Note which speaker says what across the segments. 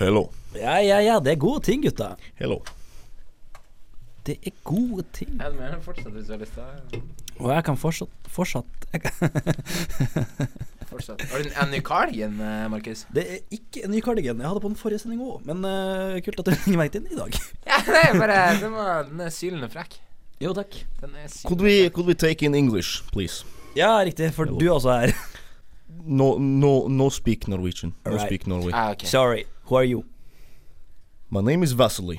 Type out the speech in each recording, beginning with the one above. Speaker 1: Hello.
Speaker 2: Ja, ja, ja, det er gode ting, gutta.
Speaker 1: Hello.
Speaker 2: Det er gode ting.
Speaker 3: Ja, du må gjerne fortsette hvis du har lyst til det.
Speaker 2: Og jeg kan fortsatt, fortsatt jeg kan
Speaker 3: Fortsett. Har du en- en ny cardigan, eh, Markus?
Speaker 2: Det er ikke en ny cardigan. Jeg hadde på den forrige sending òg, men eh, kult at du ringer meg inn i dag.
Speaker 3: Ja, det er bare Den, var, den er sylende frekk.
Speaker 2: Jo, takk.
Speaker 3: Den er syl...
Speaker 1: Could we, could we take in English, please?
Speaker 2: Ja, riktig, for du også er
Speaker 1: No, no, no speak Norwegian. No
Speaker 2: Alright.
Speaker 1: speak Norway.
Speaker 3: Ah, ok.
Speaker 2: Sorry, who are you?
Speaker 1: My name is Vasily.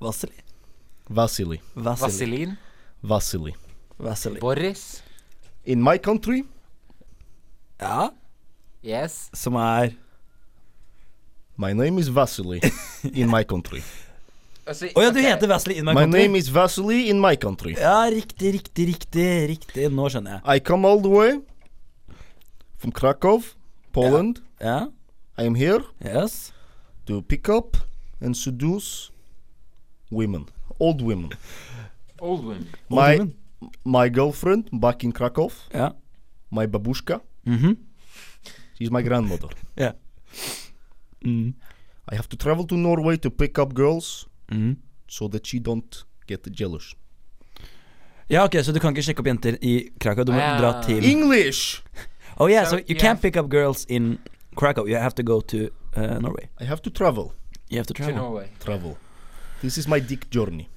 Speaker 2: Vasili?
Speaker 1: Vasily.
Speaker 2: Vasili.
Speaker 3: Vaselin.
Speaker 1: Vasily.
Speaker 2: Vasili.
Speaker 3: Boris.
Speaker 1: In my country,
Speaker 2: Ja,
Speaker 3: Yes.
Speaker 2: som er
Speaker 1: my name is Vasily. In my country.
Speaker 3: Altså,
Speaker 2: Å ja, du
Speaker 3: ok.
Speaker 2: heter Vasili in my,
Speaker 1: My
Speaker 2: country?
Speaker 1: name is Vasily in my country.
Speaker 2: Ja, riktig, riktig, riktig. riktig Nå skjønner jeg.
Speaker 1: I come all the way from Krakow, Poland.
Speaker 2: Ja,
Speaker 1: I am here
Speaker 2: yes
Speaker 1: to pick up and seduce women, old women.
Speaker 3: Old woman.
Speaker 2: Old
Speaker 1: my
Speaker 2: women?
Speaker 1: my girlfriend back in Krakow,
Speaker 2: Ja.
Speaker 1: my babushka,
Speaker 2: Mhm.
Speaker 1: she's my grandmother.
Speaker 2: ja. Mm.
Speaker 1: I have to travel to Norway to pick up girls
Speaker 2: Mm.
Speaker 1: so that she don't get jealous.
Speaker 2: Ja, ok, så du kan ikke sjekke opp jenter i Krakow. Du må
Speaker 3: Ah.
Speaker 2: dra til
Speaker 1: English.
Speaker 2: Oh yeah, so
Speaker 3: So,
Speaker 2: you
Speaker 3: yeah.
Speaker 2: can't pick up girls in Krakow. You have to go to uh, Norway.
Speaker 1: I have to travel,
Speaker 2: You have to
Speaker 3: To
Speaker 2: travel.
Speaker 3: Norway.
Speaker 1: travel. This is my dick journey.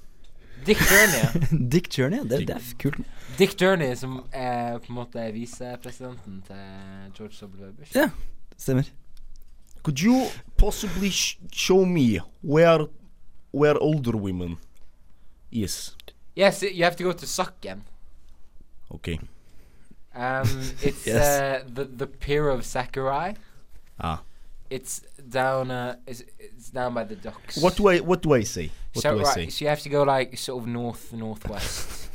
Speaker 3: Dick Journey. ja.
Speaker 2: Dick Journey, det,
Speaker 1: Dick-
Speaker 2: det er f- kult.
Speaker 3: Dick Journey, som er på en måte visepresidenten til George W. Bush.
Speaker 2: Ja, stemmer.
Speaker 1: Could you possibly sh- show me where where older women is?
Speaker 3: Yes, you have to go to Sakken.
Speaker 1: Okay.
Speaker 3: Um, it's
Speaker 2: Yes.
Speaker 3: uh, the the pier of Sakurai.
Speaker 1: Ah.
Speaker 3: It's down. Uh, it's, it's down by the docks.
Speaker 1: What do I what do I say? What
Speaker 3: so,
Speaker 1: do I
Speaker 3: right,
Speaker 1: say?
Speaker 3: so you have to go like sort of north northwest.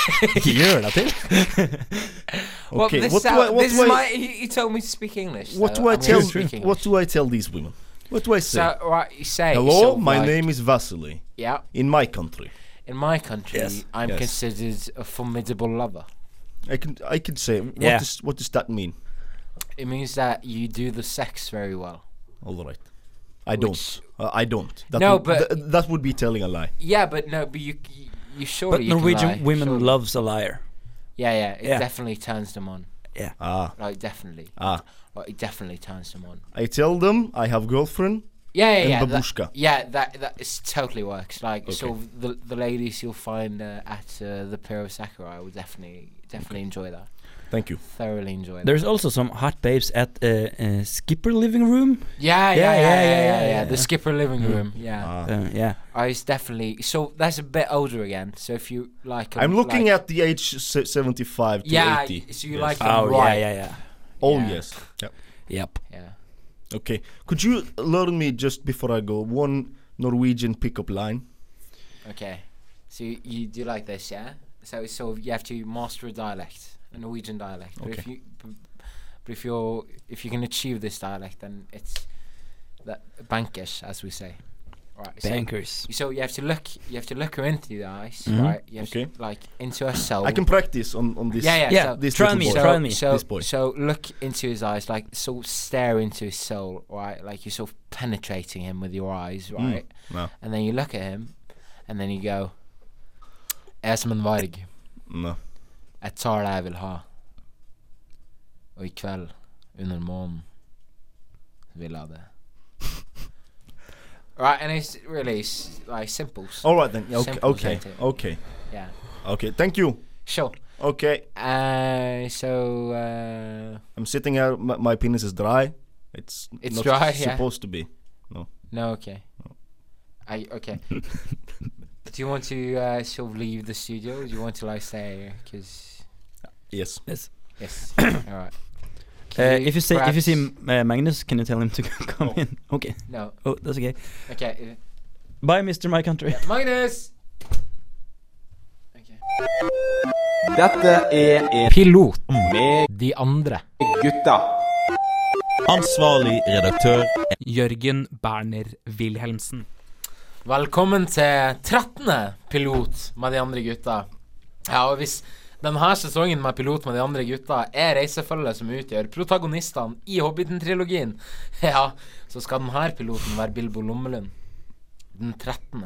Speaker 2: Gjør deg til.
Speaker 3: Well,
Speaker 1: Okay,
Speaker 3: this,
Speaker 1: what do
Speaker 3: sound-
Speaker 1: I- what
Speaker 3: this
Speaker 1: do I-
Speaker 3: is my. He, he told me to speak English.
Speaker 1: What
Speaker 3: so
Speaker 1: do I
Speaker 3: I'm
Speaker 1: tell?
Speaker 3: gonna speak English.
Speaker 1: What do I tell these women? What do I say?
Speaker 3: So right, you say
Speaker 1: Hello,
Speaker 3: sort of
Speaker 1: my
Speaker 3: like,
Speaker 1: name is Vasily.
Speaker 3: Yeah,
Speaker 1: In my country,
Speaker 3: in my country,
Speaker 2: Yes,
Speaker 3: I'm
Speaker 1: yes.
Speaker 3: considered a formidable lover.
Speaker 1: I can I can say what
Speaker 2: Yeah.
Speaker 1: does what does that mean?
Speaker 3: It means that you do the sex very well.
Speaker 1: All right, I
Speaker 3: Which-
Speaker 1: don't. Uh, I don't. That
Speaker 3: No,
Speaker 1: would,
Speaker 3: but-
Speaker 1: tha- that would be telling a lie.
Speaker 3: Yeah, but no, but you c- you surely
Speaker 2: But
Speaker 3: you can lie,
Speaker 2: Norwegian women
Speaker 3: surely.
Speaker 2: loves a liar.
Speaker 3: Yeah, yeah, it
Speaker 2: Yeah.
Speaker 3: definitely turns them on.
Speaker 1: Ah,
Speaker 3: Like definitely,
Speaker 1: ah.
Speaker 3: like it definitely turns them on.
Speaker 1: I tell them I have girlfriend.
Speaker 3: Yeah, yeah,
Speaker 1: And
Speaker 3: yeah.
Speaker 1: babushka.
Speaker 3: That, yeah, that that is totally works. Like
Speaker 1: Okay.
Speaker 3: sort of the the ladies you'll find uh, at uh, the Pier of Sakurai will definitely definitely enjoy that.
Speaker 1: Thank you.
Speaker 3: Thoroughly enjoy that.
Speaker 2: There's also some hot babes at uh, uh, Skipper living room.
Speaker 3: Yeah, yeah, yeah, yeah, yeah, yeah, The
Speaker 2: yeah.
Speaker 3: skipper living
Speaker 2: Mm.
Speaker 3: room. Yeah,
Speaker 1: Ah.
Speaker 2: Uh, yeah.
Speaker 3: I was definitely. So that's a bit older again. So if you like,
Speaker 1: I'm looking
Speaker 3: like,
Speaker 1: at the age se- 75 to
Speaker 3: Yeah,
Speaker 1: 80.
Speaker 3: y- so you
Speaker 1: Yes.
Speaker 3: like
Speaker 2: Oh,
Speaker 3: Right.
Speaker 2: yeah, yeah,
Speaker 1: Oh
Speaker 3: yeah.
Speaker 1: yes. Yeah.
Speaker 2: yeah. Yep.
Speaker 3: yeah.
Speaker 1: Okay. Could you learn me just before I go one Norwegian pickup line?
Speaker 3: Okay. So you, you do like this, yeah? So it's sort of you have to master a dialect, a Norwegian dialect. But if
Speaker 1: Okay.
Speaker 3: you b- but if you're if you can achieve this dialect then it's that bankish as we say. Right.
Speaker 2: Bankers.
Speaker 3: So, so you have to look you have to look her into the eyes,
Speaker 2: Mhm.
Speaker 3: right? You have
Speaker 1: Mm-hmm. Okay.
Speaker 3: to, like into her soul.
Speaker 1: I can practice on on this.
Speaker 3: Yeah, Oh. yeah.
Speaker 2: Yeah,
Speaker 3: so,
Speaker 1: this
Speaker 2: try
Speaker 1: little
Speaker 2: me,
Speaker 1: boy.
Speaker 2: try me.
Speaker 3: so,
Speaker 1: This boy.
Speaker 3: so look into his eyes, like so stare into his soul, right? Like you're sort of penetrating him with your eyes,
Speaker 1: Mm.
Speaker 3: right?
Speaker 1: No.
Speaker 3: and then you look at him, and then you go Er som en varg,
Speaker 1: No.
Speaker 3: jeg tar det jeg vil ha. Og i kveld, under månen, vil jeg det. Right, and it's really s- like simple. s-
Speaker 1: All right then. Yeah, Okay.
Speaker 3: Simple,
Speaker 1: okay.
Speaker 3: isn't it?
Speaker 1: Okay.
Speaker 3: Yeah,
Speaker 1: Okay. Thank you.
Speaker 3: sure.
Speaker 1: Okay.
Speaker 3: Uh, so uh,
Speaker 1: I'm sitting here. My, my penis is dry. It's
Speaker 3: It's
Speaker 1: not
Speaker 3: dry, yeah.
Speaker 1: supposed to be.
Speaker 3: no, okay. I okay. Do you want to uh, sort of leave the studio? Do you want to like stay? Because
Speaker 1: Yes.
Speaker 2: Yes.
Speaker 3: yes, all right.
Speaker 2: Uh,
Speaker 3: Can
Speaker 2: if you see if you see
Speaker 3: perhaps-
Speaker 2: uh, Magnus, can you tell him to come
Speaker 1: Oh.
Speaker 2: in? Okay.
Speaker 3: no,
Speaker 2: Oh, that's okay.
Speaker 3: okay. uh,
Speaker 2: Bye, Mr. My Country.
Speaker 3: Magnus!
Speaker 4: Dette er en
Speaker 3: Pilot
Speaker 4: med
Speaker 3: De andre.
Speaker 4: gutta.
Speaker 5: Ansvarlig redaktør
Speaker 6: Jørgen Berner Wilhelmsen.
Speaker 3: Velkommen til 13. pilot med de andre gutta. Ja, og hvis Denne sesongen med Pilot med de andre gutta er reisefølget som utgjør protagonistene i Hobbiten-trilogien. Ja, så skal denne piloten være Bilbo Lommelund. Den 13.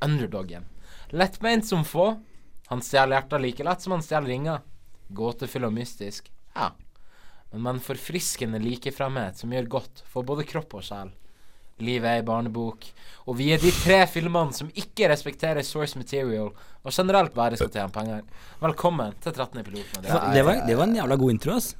Speaker 3: Underdogen. Lettbeint som få. Han stjeler hjerter like lett som han stjeler ringer. Gåtefull og mystisk. Ja. Men med en forfriskende likefremhet som gjør godt for både kropp og sjel. Livet er ei barnebok, og vi er de tre filmene som ikke respekterer source material, og generelt bare skal tjene penger. Velkommen til 13. piloten. Det er-
Speaker 2: Det var, det var en jævla god intro, ass.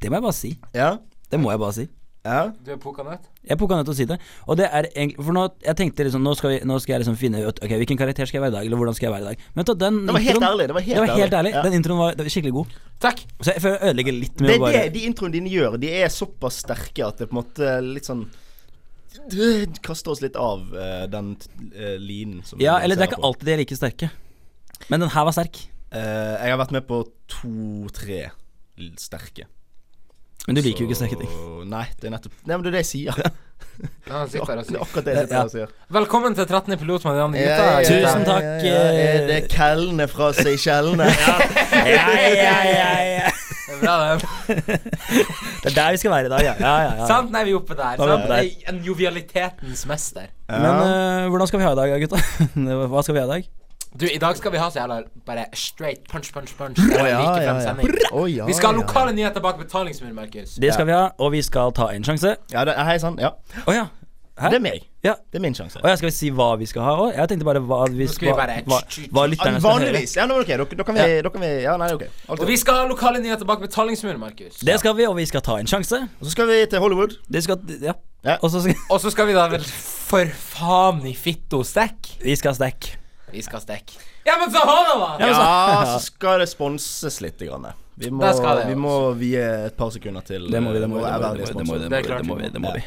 Speaker 2: Det må jeg bare si.
Speaker 1: Ja?
Speaker 2: Det må jeg bare si.
Speaker 1: Ja?
Speaker 3: Du er pukka nøtt?
Speaker 2: Jeg pukka nødt til å si det. Og det er egentlig For nå, jeg tenkte liksom Nå skal, vi, nå skal jeg liksom finne ut Ok, hvilken karakter skal jeg være i dag, eller hvordan skal jeg være i dag. Men vet du, den
Speaker 1: Det var helt ærlig, det var helt
Speaker 2: det var helt
Speaker 1: ærlig.
Speaker 2: ærlig.
Speaker 1: Ja.
Speaker 2: Den introen var, det var skikkelig god.
Speaker 3: Takk.
Speaker 2: Så jeg føler jeg ødelegger litt med
Speaker 1: Det
Speaker 2: å
Speaker 1: er
Speaker 2: bare
Speaker 1: det de introene dine gjør. De er såpass sterke at det på en måte litt sånn det kaster oss litt av eh, den eh, linen som
Speaker 2: Ja,
Speaker 1: vi
Speaker 2: eller det er
Speaker 1: baserer
Speaker 2: ikke
Speaker 1: på.
Speaker 2: alltid de er like sterke. Men den her var sterk.
Speaker 1: Eh, jeg har vært med på to-tre l- sterke.
Speaker 2: Men du liker jo ikke sterke ting.
Speaker 1: Nei, det er nettopp Nei, men det er det jeg sier. Det
Speaker 3: Ja, han sitter her
Speaker 1: er
Speaker 3: og sier.
Speaker 1: akkurat det jeg sitter her og sier.
Speaker 3: Velkommen til 13. pilot med de andre
Speaker 1: Ja,
Speaker 3: gutta.
Speaker 1: ja, ja,
Speaker 3: gutta.
Speaker 2: Tusen takk,
Speaker 1: ja, ja, ja.
Speaker 2: eh.
Speaker 1: Er det Kellene fra Seychellene?
Speaker 2: Ja, ja, ja, ja.
Speaker 3: Det er Bra, det.
Speaker 2: Det er der vi skal være i dag, ja. ja, ja, ja.
Speaker 3: Sant? Nei, vi er oppe
Speaker 2: Da
Speaker 3: der.
Speaker 2: er vi
Speaker 3: Sant?
Speaker 2: oppe der.
Speaker 3: Nei, En jovialitetens mester.
Speaker 2: Men eh, hvordan skal vi ha i dag, gutta? Hva skal vi ha i dag?
Speaker 3: Du, i dag skal vi ha så jævla bare straight punch, punch, punch.
Speaker 1: Å, ja, ja,
Speaker 3: like frem
Speaker 1: ja.
Speaker 3: sending.
Speaker 1: Å, ja,
Speaker 3: Vi skal ha
Speaker 1: ja, ja.
Speaker 3: lokale nyheter bak betalingsmur, Markus.
Speaker 2: Det skal vi ha, og vi skal ta en sjanse.
Speaker 1: Ja, det, hei sann. Ja.
Speaker 2: Å ja. Hæ?
Speaker 1: Det er meg.
Speaker 2: Ja.
Speaker 1: Det er min sjanse.
Speaker 2: Å ja, skal vi si hva vi skal ha òg? Jeg tenkte bare hva vi
Speaker 3: skal vi
Speaker 2: hva-
Speaker 3: bare-
Speaker 2: hva, hva lytterne skal høre.
Speaker 1: Vanligvis. Ja, nå er det ok. Da- Da kan vi Da kan vi Ja, nei, ok. Alt
Speaker 3: Og
Speaker 1: er-
Speaker 3: vi skal ha lokale nyheter bak betalingsmur, Markus.
Speaker 2: Det skal vi, og vi skal ta en sjanse.
Speaker 1: Og så skal vi til Hollywood.
Speaker 2: Det skal Ja.
Speaker 1: Ja.
Speaker 2: Og så skal
Speaker 3: Og så skal vi da vel for faen i fitto stekk.
Speaker 2: Vi skal stack.
Speaker 3: Vi skal stekke. Ja, men så ha det, da!
Speaker 1: Ja,
Speaker 3: Ja,
Speaker 1: så skal det sponses litt. Grann. Vi, må,
Speaker 3: Det skal det,
Speaker 1: vi må vie et par sekunder til eh,
Speaker 2: Det må vi, det må vi.
Speaker 1: vår
Speaker 2: Det må vi,
Speaker 1: ærverdige
Speaker 2: det må vi,
Speaker 1: sponsor.
Speaker 2: det
Speaker 3: Det er
Speaker 2: må vi,
Speaker 3: klart
Speaker 2: det må
Speaker 3: vi
Speaker 2: vi,
Speaker 3: må.
Speaker 2: det må vi.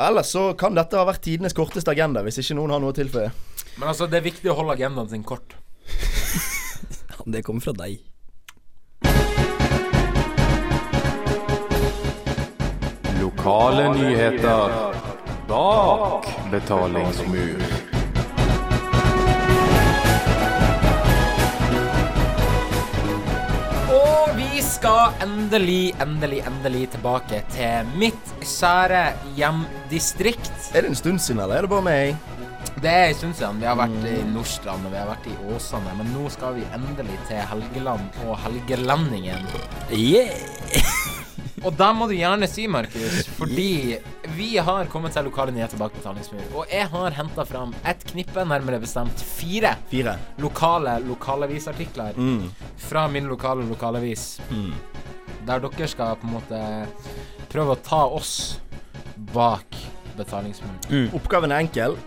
Speaker 1: Ellers så kan dette ha vært tidenes korteste agenda, hvis ikke noen har noe å tilføye.
Speaker 3: Men altså, det er viktig å holde agendaen sin kort.
Speaker 2: Ja, Det kommer fra deg.
Speaker 5: Lokale nyheter bak betalingsmur.
Speaker 3: Og vi skal endelig, endelig, endelig tilbake til mitt kjære hjemdistrikt.
Speaker 1: Er det en stund siden, eller er det bare meg?
Speaker 3: Det er en stund siden. Vi har vært i Nordstrand og vi har vært i Åsane, men nå skal vi endelig til Helgeland og Helgelendingen.
Speaker 2: Yeah.
Speaker 3: Og det må du gjerne si, Markus, fordi vi har kommet til lokale nyheter bak betalingsmur. Og jeg har henta fram et knippe, nærmere bestemt fire,
Speaker 1: Fire.
Speaker 3: lokale lokalavisartikler fra min lokale lokalavis. Der dere skal på en måte prøve å ta oss bak betalingsmur.
Speaker 2: Mm.
Speaker 1: Oppgaven er enkel.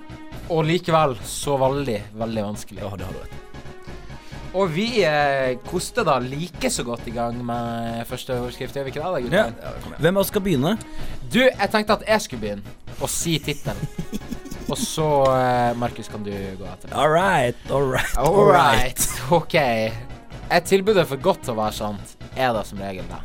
Speaker 3: Og likevel så veldig, veldig vanskelig.
Speaker 1: det har du rett.
Speaker 3: Og vi eh, koster da like så godt i gang med første overskrift, gjør vi ikke det? da, gutter?
Speaker 2: Ja. Hvem av oss skal begynne?
Speaker 3: Du, jeg tenkte at jeg skulle begynne å si tittelen. Og så, eh, Markus, kan du gå etter meg.
Speaker 2: All right, all right.
Speaker 3: All right. OK. Er tilbudet for godt til å være sant? Er det som regel det?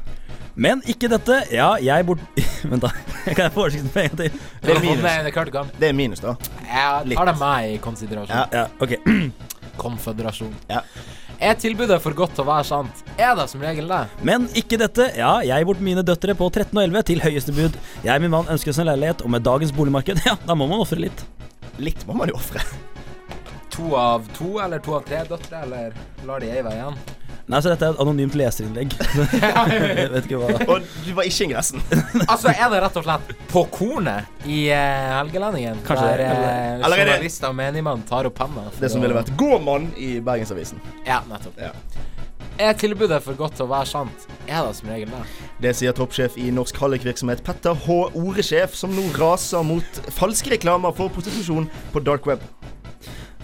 Speaker 2: Men ikke dette. Ja, jeg bort... Vent, da. Kan jeg få oversikten med en gang til?
Speaker 1: Det er minus.
Speaker 3: Nei, det er klart du kan.
Speaker 1: Det er minus, da.
Speaker 3: Jeg tar det med i konsiderasjon.
Speaker 1: Ja.
Speaker 2: Ja, ok.
Speaker 3: Konføderasjon.
Speaker 1: Ja.
Speaker 3: Er tilbudet for godt til å være sant? Er det som regel det?
Speaker 2: Men ikke dette. Ja, jeg gir bort mine døtre på 13 og 11 til høyeste bud. Jeg og min mann ønsker oss en leilighet, og med dagens boligmarked, ja, da må man ofre litt.
Speaker 1: Litt må man jo ofre.
Speaker 3: To av to, eller to av tre døtre, eller lar de ei vei igjen?
Speaker 2: Nei, så dette er et anonymt leserinnlegg. jeg vet ikke hva
Speaker 1: Og du var ikke ingressen.
Speaker 3: Altså, er det rett og slett på kornet i eh, Helgelendingen?
Speaker 2: Kanskje
Speaker 3: der
Speaker 2: det,
Speaker 3: eh,
Speaker 1: eller er det-
Speaker 3: journalister og menigmann tar opp penna. for
Speaker 1: Det som
Speaker 3: å-
Speaker 1: ville vært gåmann i Bergensavisen.
Speaker 3: Ja, nettopp.
Speaker 1: Ja.
Speaker 3: Er tilbudet for godt til å være sant? Er det som regel det?
Speaker 1: Det sier toppsjef i Norsk Hallikvirksomhet Petter H. Oresjef, som nå raser mot falske reklamer for prostitusjon på dark web.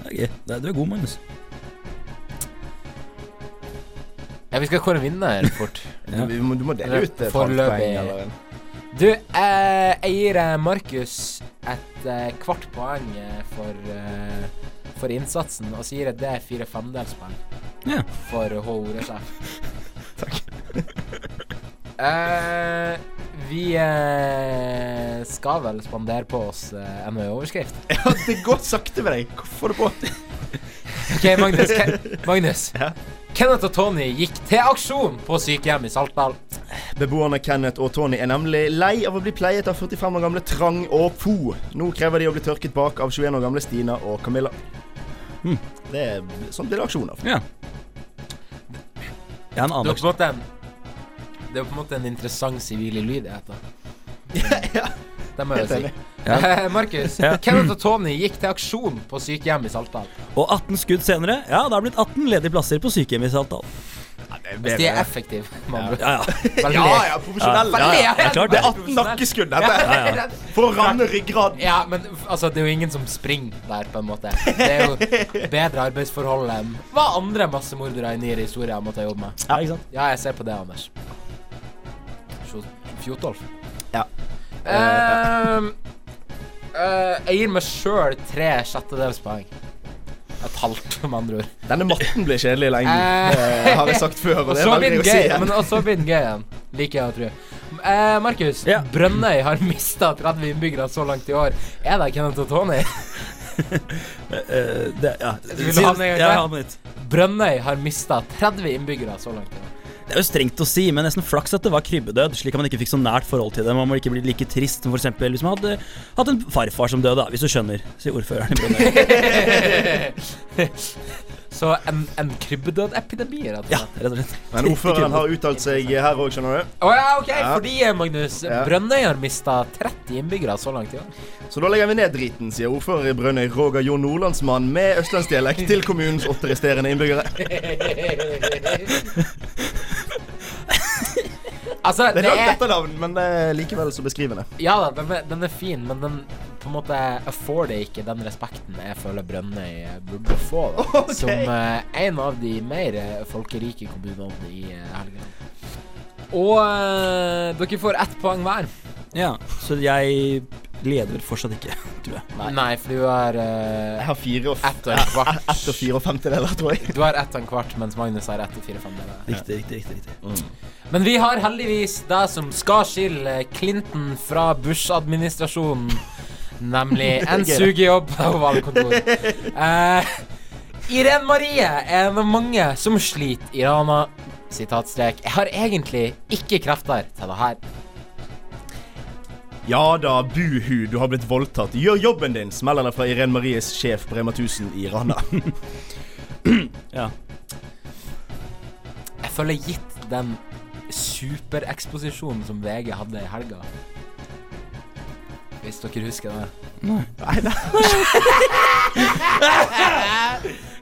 Speaker 2: Ok, Nei, Du er god, Magnus.
Speaker 3: Ja, vi skal kåre en vinner fort.
Speaker 2: Ja.
Speaker 1: Du, må, du må dele ut et halvt
Speaker 3: Foreløpig.
Speaker 1: poeng eller en
Speaker 3: Du, eh, jeg gir eh, Markus et eh, kvart poeng eh, for, eh, for innsatsen, og så gir jeg det fire femdelspoeng
Speaker 2: Ja.
Speaker 3: for H-ordet-sjef. Takk. eh, vi eh, skal vel spandere på oss eh, en overskrift.
Speaker 1: Ja, det går sakte med deg. Hvorfor det på?
Speaker 3: Ok, Magnus. Ke Magnus. Kenneth og Tony gikk til aksjon på sykehjem i Saltdal.
Speaker 1: Beboerne Kenneth og Tony er nemlig lei av å bli pleiet av 45 år gamle Trang og Po. Nå krever de å bli tørket bak av 21 år gamle Stina og Camilla.
Speaker 2: Hmm.
Speaker 1: Det er sånn blir det aksjoner.
Speaker 2: Ja. Jeg har en
Speaker 3: Det
Speaker 2: annen
Speaker 3: er på en måte en Det er på en måte en interessant sivil lyd, jeg heter.
Speaker 1: ja,
Speaker 3: Det må jeg
Speaker 1: helt
Speaker 3: jo si.
Speaker 1: enig.
Speaker 3: Eh, Markus,
Speaker 2: Ja.
Speaker 3: Kenneth og Tony gikk til aksjon på sykehjem i Saltdal.
Speaker 2: Og 18 skudd senere, ja, det har blitt 18 ledige plasser på sykehjem i Saltdal.
Speaker 3: Hvis Altså, de er effektive, med andre ord.
Speaker 2: Ja, ja.
Speaker 3: Veldig.
Speaker 1: Ja, ja, profesjonelle.
Speaker 2: Ja, ja, det er klart
Speaker 1: Det
Speaker 2: det.
Speaker 1: er 18 nakkeskudd, dette.
Speaker 2: ja, ja.
Speaker 1: For å ramme ryggraden.
Speaker 3: Ja, men f- altså, det er jo ingen som springer der, på en måte. Det er jo bedre arbeidsforhold enn hva andre massemordere i nyere historie har måttet jobbe med.
Speaker 2: ja, ikke sant?
Speaker 3: Ja, jeg ser på det, Anders. Fjo- Fjotolf.
Speaker 1: Ja.
Speaker 3: Ehm, eh, jeg gir meg sjøl tre sjettedelspoeng. Et halvt, med andre ord.
Speaker 1: Denne matten blir kjedelig i lengden.
Speaker 3: Eh,
Speaker 1: Det har jeg sagt før, og
Speaker 3: Og
Speaker 1: det
Speaker 3: så
Speaker 1: velger
Speaker 3: blir
Speaker 1: jeg å si
Speaker 3: den gøy, men
Speaker 1: igjen.
Speaker 3: og så blir den gøy igjen. Liker jeg å tro. Eh, Markus,
Speaker 2: Ja.
Speaker 3: Brønnøy har mista 30 innbyggere så langt i år. Er det Kenneth og Tony?
Speaker 2: Eh, det, ja.
Speaker 3: vil ha den en gang
Speaker 2: Ja,
Speaker 3: til?
Speaker 2: ha den litt.
Speaker 3: Brønnøy har mista 30 innbyggere så langt i år.
Speaker 2: Det er jo strengt å si, men nesten flaks at det var krybbedød, slik at man ikke fikk så nært forhold til det. Man må ikke bli like trist som for eksempel hvis man hadde hatt en farfar som døde, da, hvis du skjønner, sier ordføreren i Brønnøy.
Speaker 3: Så en, en krybbedødepidemi, rett og
Speaker 2: Ja,
Speaker 3: slett.
Speaker 2: rett og slett.
Speaker 1: Men ordføreren har uttalt seg her òg, skjønner du.
Speaker 3: Å ja, OK,
Speaker 1: Ja.
Speaker 3: fordi, eh, Magnus,
Speaker 1: Ja.
Speaker 3: Brønnøy har mista 30 innbyggere så langt i år.
Speaker 1: Så da legger vi ned driten, sier ordfører i Brønnøy Roger Jo Nordlandsmann med østlandsdialekt til kommunens åtte resterende innbyggere.
Speaker 3: Altså,
Speaker 1: Det er
Speaker 3: det
Speaker 1: langt
Speaker 3: er
Speaker 1: etternavn, men det er likevel så beskrivende.
Speaker 3: Ja da, den er, den er fin, men den på en måte afforder ikke den respekten jeg føler Brønnøy eh, burde få. Da,
Speaker 1: Ok.
Speaker 3: Som eh, en av de mer eh, folkerike kommunene i eh, Helgeland. Og eh, dere får ett poeng hver.
Speaker 2: Ja, så jeg leder vel fortsatt ikke, tror jeg.
Speaker 3: Nei, for du har
Speaker 1: Jeg
Speaker 3: eh,
Speaker 1: har fire og,
Speaker 3: ett og en kvart.
Speaker 1: ett og fire og femtedeler, tror jeg.
Speaker 3: Du har ett og en kvart, mens Magnus har ett og fire femdeler.
Speaker 2: Riktig, riktig, riktig. riktig.
Speaker 3: Men vi har heldigvis det som skal skille Clinton fra Bush-administrasjonen. Nemlig en sugejobb på valgkontoret. Eh, Irene Marie er en av mange som sliter i Rana. Sitatstrek. Jeg har egentlig ikke krefter til det her.
Speaker 1: Ja da, buhu, du har blitt voldtatt. Gjør jobben din, smeller det fra Irene Maries sjef på Rema 1000 i Rana.
Speaker 2: Ja.
Speaker 3: Jeg føler gitt den supereksposisjonen som VG hadde i helga. Hvis dere husker det.
Speaker 1: Nei, nei.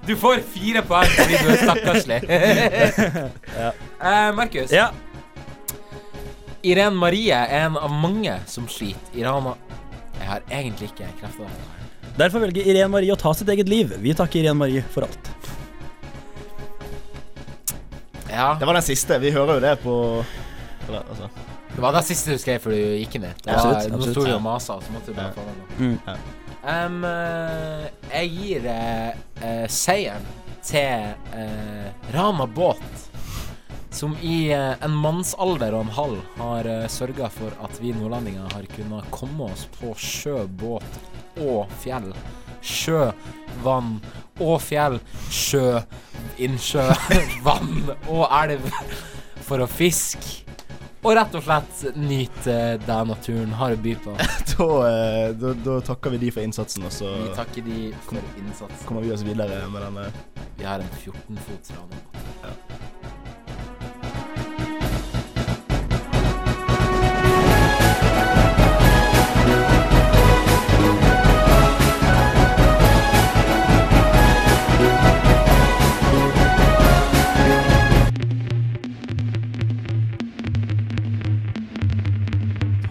Speaker 3: Du får fire poeng fordi du er stakkarslig. Eh, Markus.
Speaker 2: ja.
Speaker 3: Irene Marie er en av mange som sliter i Rana. Jeg har egentlig ikke krefter.
Speaker 2: Derfor velger Irene Marie å ta sitt eget liv. Vi takker Irene Marie for alt.
Speaker 3: Ja,
Speaker 1: Det var den siste. Vi hører jo det på Eller, altså.
Speaker 3: Det var det siste du skrev før du gikk ned. Det
Speaker 2: Ja,
Speaker 3: var,
Speaker 2: absolutt,
Speaker 3: Nå
Speaker 2: absolutt.
Speaker 3: sto du og masa, og så måtte du bare få den.
Speaker 2: Mm.
Speaker 1: Ja.
Speaker 3: Em, eh, jeg gir eh, eh, seieren til eh, Rana Båt, som i eh, en mannsalder og en halv har uh, sørga for at vi nordlendinger har kunnet komme oss på sjø, båt og fjell. Sjø, vann og fjell. Sjø, innsjø, vann og elv for å fiske. Og rett og slett nyte det naturen har å by på.
Speaker 1: Da, eh, da, da takker vi de for innsatsen, og så
Speaker 3: Vi takker de for innsatsen.
Speaker 1: kommer vi oss videre med denne.
Speaker 3: Vi har en 14 fots rane.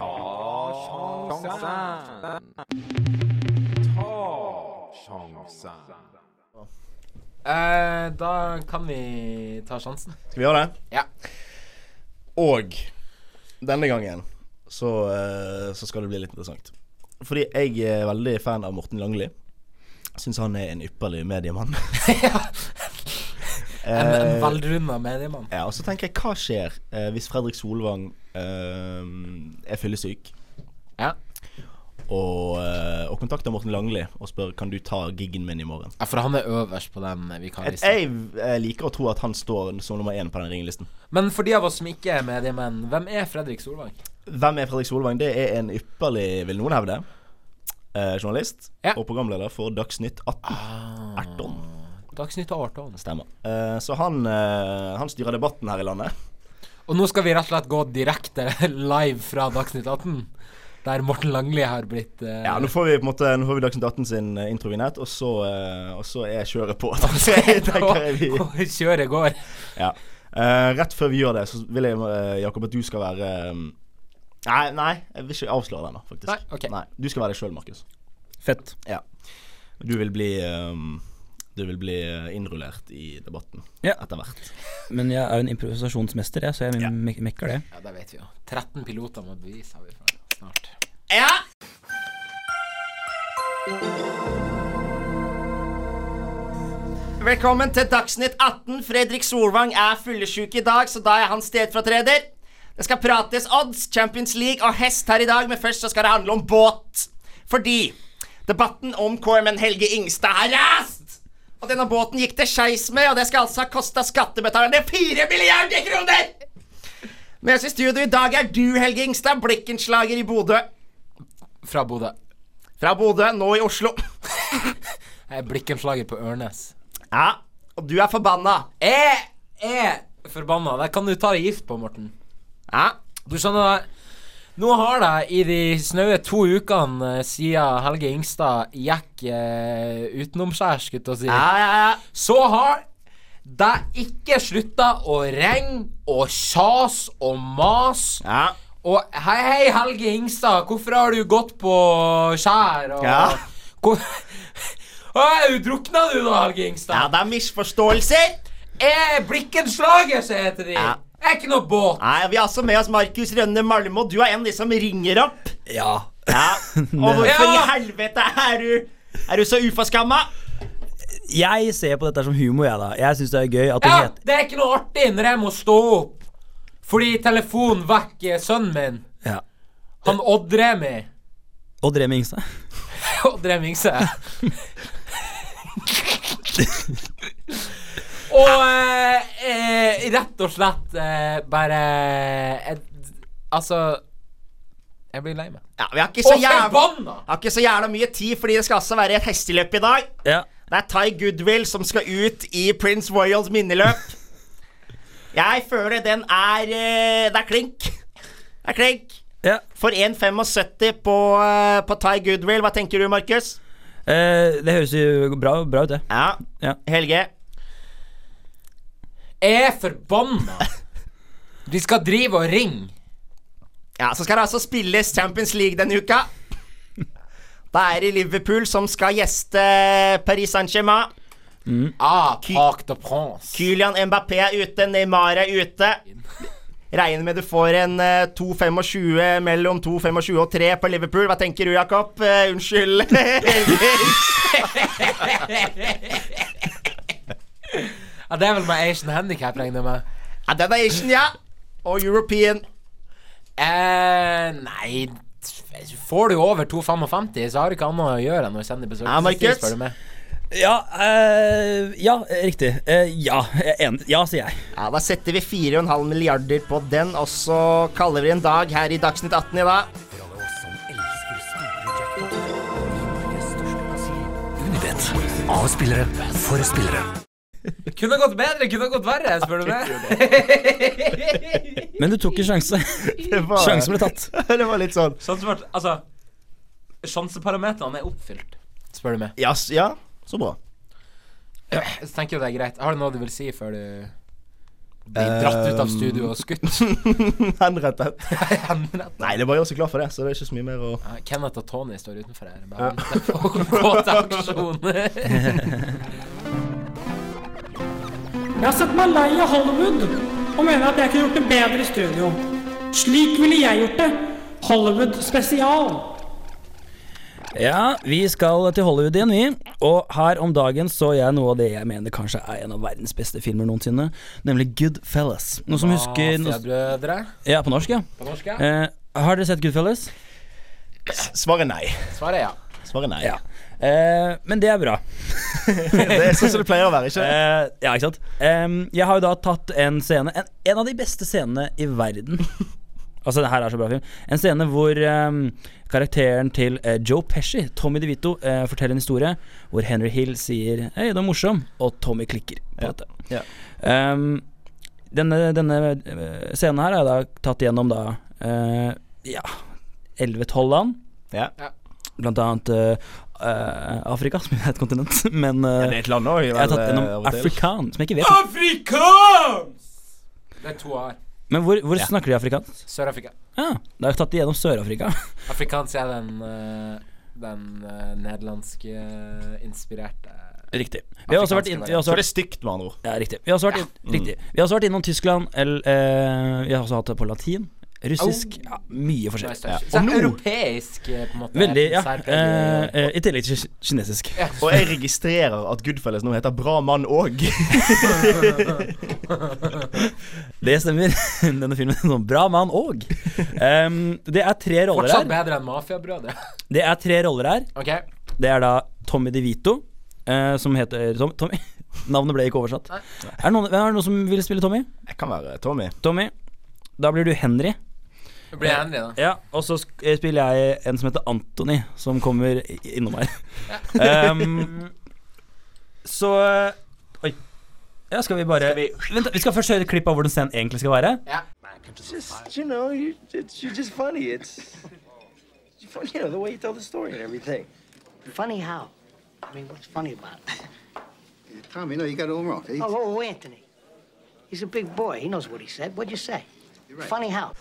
Speaker 5: Ta sjansen. Ta sjansen.
Speaker 3: Eh, da kan vi ta sjansen.
Speaker 1: Skal vi gjøre det?
Speaker 3: Ja.
Speaker 1: Og denne gangen så, eh, så skal det bli litt interessant. Fordi jeg er veldig fan av Morten Langli. Syns han er en ypperlig mediemann.
Speaker 3: En, en
Speaker 1: Eh,
Speaker 3: velrunda mediemann.
Speaker 1: Ja, og så tenker jeg, hva skjer eh, hvis Fredrik Solvang eh, er fyllesyk
Speaker 3: Ja.
Speaker 1: og, eh, og
Speaker 7: kontakter Morten Langli og spør Kan du ta giggen min i morgen.
Speaker 3: Ja, for han er øverst på den
Speaker 7: Jeg,
Speaker 3: vikarlisten.
Speaker 7: jeg eh, liker å tro at han står som nummer én på den ringelisten.
Speaker 3: Men for de av oss som ikke er mediemenn, hvem er Fredrik Solvang?
Speaker 7: Hvem er Fredrik Solvang? Det er en ypperlig, vil noen hevde, eh, journalist
Speaker 3: Ja.
Speaker 7: og programleder for Dagsnytt 18. Erton.
Speaker 3: Dagsnytt 18.
Speaker 7: Stemmer. Eh, så han, eh, han styrer debatten her i landet.
Speaker 3: Og nå skal vi rett og slett gå direkte live fra Dagsnytt 18, der Morten Langli har blitt eh,
Speaker 7: Ja, Nå får vi på en måte Nå får vi Dagsnytt 18 sin eh, introvinett, og så, eh, og så er kjøret på. tenker jeg vi
Speaker 3: og kjøret går.
Speaker 7: Ja. Eh, rett før vi gjør det, så vil jeg, eh, Jakob, at du skal være eh, Nei, nei, jeg vil ikke avsløre den, da, faktisk.
Speaker 3: Nei, ok.
Speaker 7: Du skal være deg sjøl, Markus.
Speaker 2: Fett.
Speaker 7: Du vil bli eh, Du vil bli eh, innrullert i debatten
Speaker 2: Ja.
Speaker 7: etter hvert.
Speaker 2: Men jeg er jo en improvisasjonsmester, jeg, så jeg mek- mekker det.
Speaker 3: Ja, det vet vi jo. 13 piloter med bevis har vi fra snart.
Speaker 1: Velkommen til Dagsnytt 18. Fredrik Solvang er fyllesyk i dag, så da er han stedfortreder. Det skal prates odds, Champions League og hest her i dag, men først så skal det handle om båt. Fordi debatten om KMN Helge Ingstad har rast! Og denne båten gikk det skeis med, og det skal altså ha kosta skattebetalerne fire milliarder kroner! Med oss i studio i dag er du, Helge Ingstad, blikkenslager i Bodø.
Speaker 3: Fra Bodø.
Speaker 1: Fra Bodø, nå i Oslo.
Speaker 3: Jeg er blikkenslager på Ørnes.
Speaker 1: Ja, og du er forbanna.
Speaker 3: Jeg er forbanna. Der kan du ta deg gift på, Morten.
Speaker 1: Ja,
Speaker 3: Du skjønner det. Nå har det i de snaue to ukene eh, siden Helge Ingstad gikk eh, utenomskjærs, skulle jeg til å si,
Speaker 1: ja, ja. ja.
Speaker 3: så har det ikke slutta å ringe og kjas og mas.
Speaker 7: Ja.
Speaker 3: Og hei, hei, Helge Ingstad, hvorfor har du gått på skjær? Og,
Speaker 7: Ja.
Speaker 3: Hvor, Hei, drukna du da, Helge Ingstad?
Speaker 1: Ja, det er misforståelser.
Speaker 3: Jeg er blikkenslager, så heter de.
Speaker 1: Ja.
Speaker 3: Jeg er ikke noe båt.
Speaker 1: Nei, Vi har også med oss Markus Rønne Malmo. Du er en av de som ringer opp.
Speaker 2: Ja.
Speaker 1: Ja. Og hvorfor i
Speaker 3: Ja.
Speaker 1: helvete er du Er du så uforskamma?
Speaker 2: Jeg ser på dette som humor, jeg, da. Jeg syns det er gøy at det
Speaker 3: Ja,
Speaker 2: heter
Speaker 3: det er ikke noe artig når jeg må stå opp fordi telefonen vekker sønnen min.
Speaker 2: ja.
Speaker 3: Han Odd-Remi.
Speaker 2: Odd Remi Ingstad.
Speaker 3: Odd-Remi Ingse. og eh, eh, rett og slett eh, bare eh, Altså Jeg blir lei meg.
Speaker 1: Ja, Vi har ikke så
Speaker 3: Og
Speaker 1: jævla
Speaker 3: forbanna!
Speaker 1: har ikke så jævla mye tid, fordi det skal også være et hesteløp i dag.
Speaker 2: Ja.
Speaker 1: Det er Ty Goodwill som skal ut i Prince Royals minneløp. Jeg føler den er eh, Det er klink. Det er klink.
Speaker 2: ja.
Speaker 1: For 1,75 på, eh, på Ty Goodwill. Hva tenker du, Markus?
Speaker 2: Eh, det høres jo bra, bra ut, det.
Speaker 1: Ja.
Speaker 2: Ja.
Speaker 1: Helge?
Speaker 3: Jeg er forbanna! De skal drive og ringe.
Speaker 1: Ja, så skal det altså spilles Champions League denne uka. Da er det Liverpool som skal gjeste Paris Saint-Germain.
Speaker 3: Ah, Parc de Prince.
Speaker 1: Kylian Mbappé er ute, Neymar er ute. Regner med du får en eh, 2,25 mellom 2,25 og 3 på Liverpool. Hva tenker du, Jakob? Eh, unnskyld.
Speaker 3: Ja, det er vel med Asian Handicap, regner jeg med.
Speaker 1: ja, den er Asian, ja. Og European.
Speaker 3: Eh, nei t- Får du over 2,55, så har du ikke annet å gjøre enn å sende besøk.
Speaker 1: Ja, Markus.
Speaker 2: Ja, eh, ja eh, riktig. Eh, ja, jeg er enig. ja, sier jeg.
Speaker 1: Ja, Da setter vi 4,5 milliarder på den, og så kaller vi det en dag her i Dagsnytt 18 i dag.
Speaker 3: Kunne gått bedre, kunne gått verre, spør du meg.
Speaker 2: Men du tok en sjanse.
Speaker 7: Det var,
Speaker 2: Sjansen ble tatt.
Speaker 7: det var litt sånn
Speaker 3: Sånn som at, altså Sjanseparametrene er oppfylt, spør du meg.
Speaker 7: Ja, s- ja så bra.
Speaker 3: Så tenker jeg det er greit. Har du noe du vil si før du blir dratt ut av studio og skutt?
Speaker 7: Henrettet.
Speaker 3: Henrett.
Speaker 7: Nei, det er bare å gjøre seg klar for det, så det er ikke så mye mer å
Speaker 3: Ja, Kenneth og Tony står utenfor her. Bare venter på å gå til aksjon.
Speaker 8: Jeg har sett meg lei av Hollywood og mener at jeg kunne gjort det bedre i studio. Slik ville jeg gjort det. Hollywood spesial.
Speaker 2: Ja, vi skal til Hollywood igjen, vi. Og her om dagen så jeg noe av det jeg mener kanskje er en av verdens beste filmer noensinne, nemlig Goodfellas. Noen som husker noe,
Speaker 3: Brødre
Speaker 2: Ja, på norsk, ja.
Speaker 3: på norsk? ja.
Speaker 2: Eh, har dere sett Goodfellas?
Speaker 7: Svaret er nei.
Speaker 3: Svaret er ja.
Speaker 1: Svaret er nei.
Speaker 2: Ja. Eh, men det er bra.
Speaker 1: Det er sånn som det pleier å være, ikke sant?
Speaker 2: Eh, ja, ikke sant? Em, jeg har jo da tatt en scene en, en av de beste scenene i verden. altså, det her er så bra film. En scene hvor em, karakteren til eh, Joe Pesci, Tommy DeVito, eh, forteller en historie hvor Henry Hill sier 'Hei, du er morsom', og Tommy klikker på dette.
Speaker 1: ja.
Speaker 2: Em, denne, denne eh, scenen her er da tatt gjennom da eh, ja, 11-12 land.
Speaker 1: Ja.
Speaker 2: Blant annet eh, eh, Afrika, som er et kontinent. Men eh,
Speaker 1: Ja, det er et land òg.
Speaker 2: jeg har tatt
Speaker 1: eh,
Speaker 2: gjennom afrikan, som jeg ikke vet
Speaker 3: Det er to år.
Speaker 2: Men hvor, hvor snakker de afrikansk?
Speaker 3: Sør-Afrika.
Speaker 2: Ja, da har jeg tatt igjennom Sør-Afrika.
Speaker 3: Afrikansk er den eh, Den eh, nederlandske inspirerte
Speaker 2: Riktig. Vi har også vært, inn, vi har
Speaker 1: Så
Speaker 2: også
Speaker 1: det
Speaker 2: vært
Speaker 1: er stygt, med andre ord.
Speaker 2: Ja, riktig. Vi har også vært, inn, riktig. Vi har også vært innom Tyskland, eller eh, Vi har også hatt det på latin, russisk ja, Mye
Speaker 3: Nice
Speaker 2: forskjellig.
Speaker 3: touch.
Speaker 1: Og
Speaker 3: Så det
Speaker 1: nå-
Speaker 3: er europeisk, eh, på en måte.
Speaker 2: Veldig, ja.
Speaker 3: særpreg i-
Speaker 2: eh, eh, I tillegg til ki- kinesisk.
Speaker 1: Og jeg registrerer at Goodfellas nå heter Bra mann òg.
Speaker 2: Det stemmer. Denne filmen er sånn Bra mann og Em, Det er tre roller
Speaker 3: Fortsatt
Speaker 2: her.
Speaker 3: bedre enn Mafiabrødre.
Speaker 2: Det er tre roller her.
Speaker 3: OK.
Speaker 2: Det er da Tommy DeVito, eh, som heter Tom, Tommy. Navnet ble ikke oversatt. Er det, noen, er det noen som vil spille Tommy?
Speaker 1: Jeg kan være Tommy.
Speaker 2: Tommy. Da blir du Henry.
Speaker 3: Det blir Henry, da.
Speaker 2: Ja, og så sk- eh, spiller jeg en som heter Anthony, som kommer i- innom her. um, så eh, Oi. Ja, skal vi bare Vent, da, vi skal først høre et klipp av hvordan scenen egentlig skal være.
Speaker 9: you know, you, it's, you're just funny. It's, it's funny, you know, the way you tell the story and everything.
Speaker 10: Funny how? I mean, what's funny about it?
Speaker 9: Tommy, no, you got it all wrong.
Speaker 10: Oh, oh, Anthony. He's a big boy. He knows what he said. What'd you say? Funny how?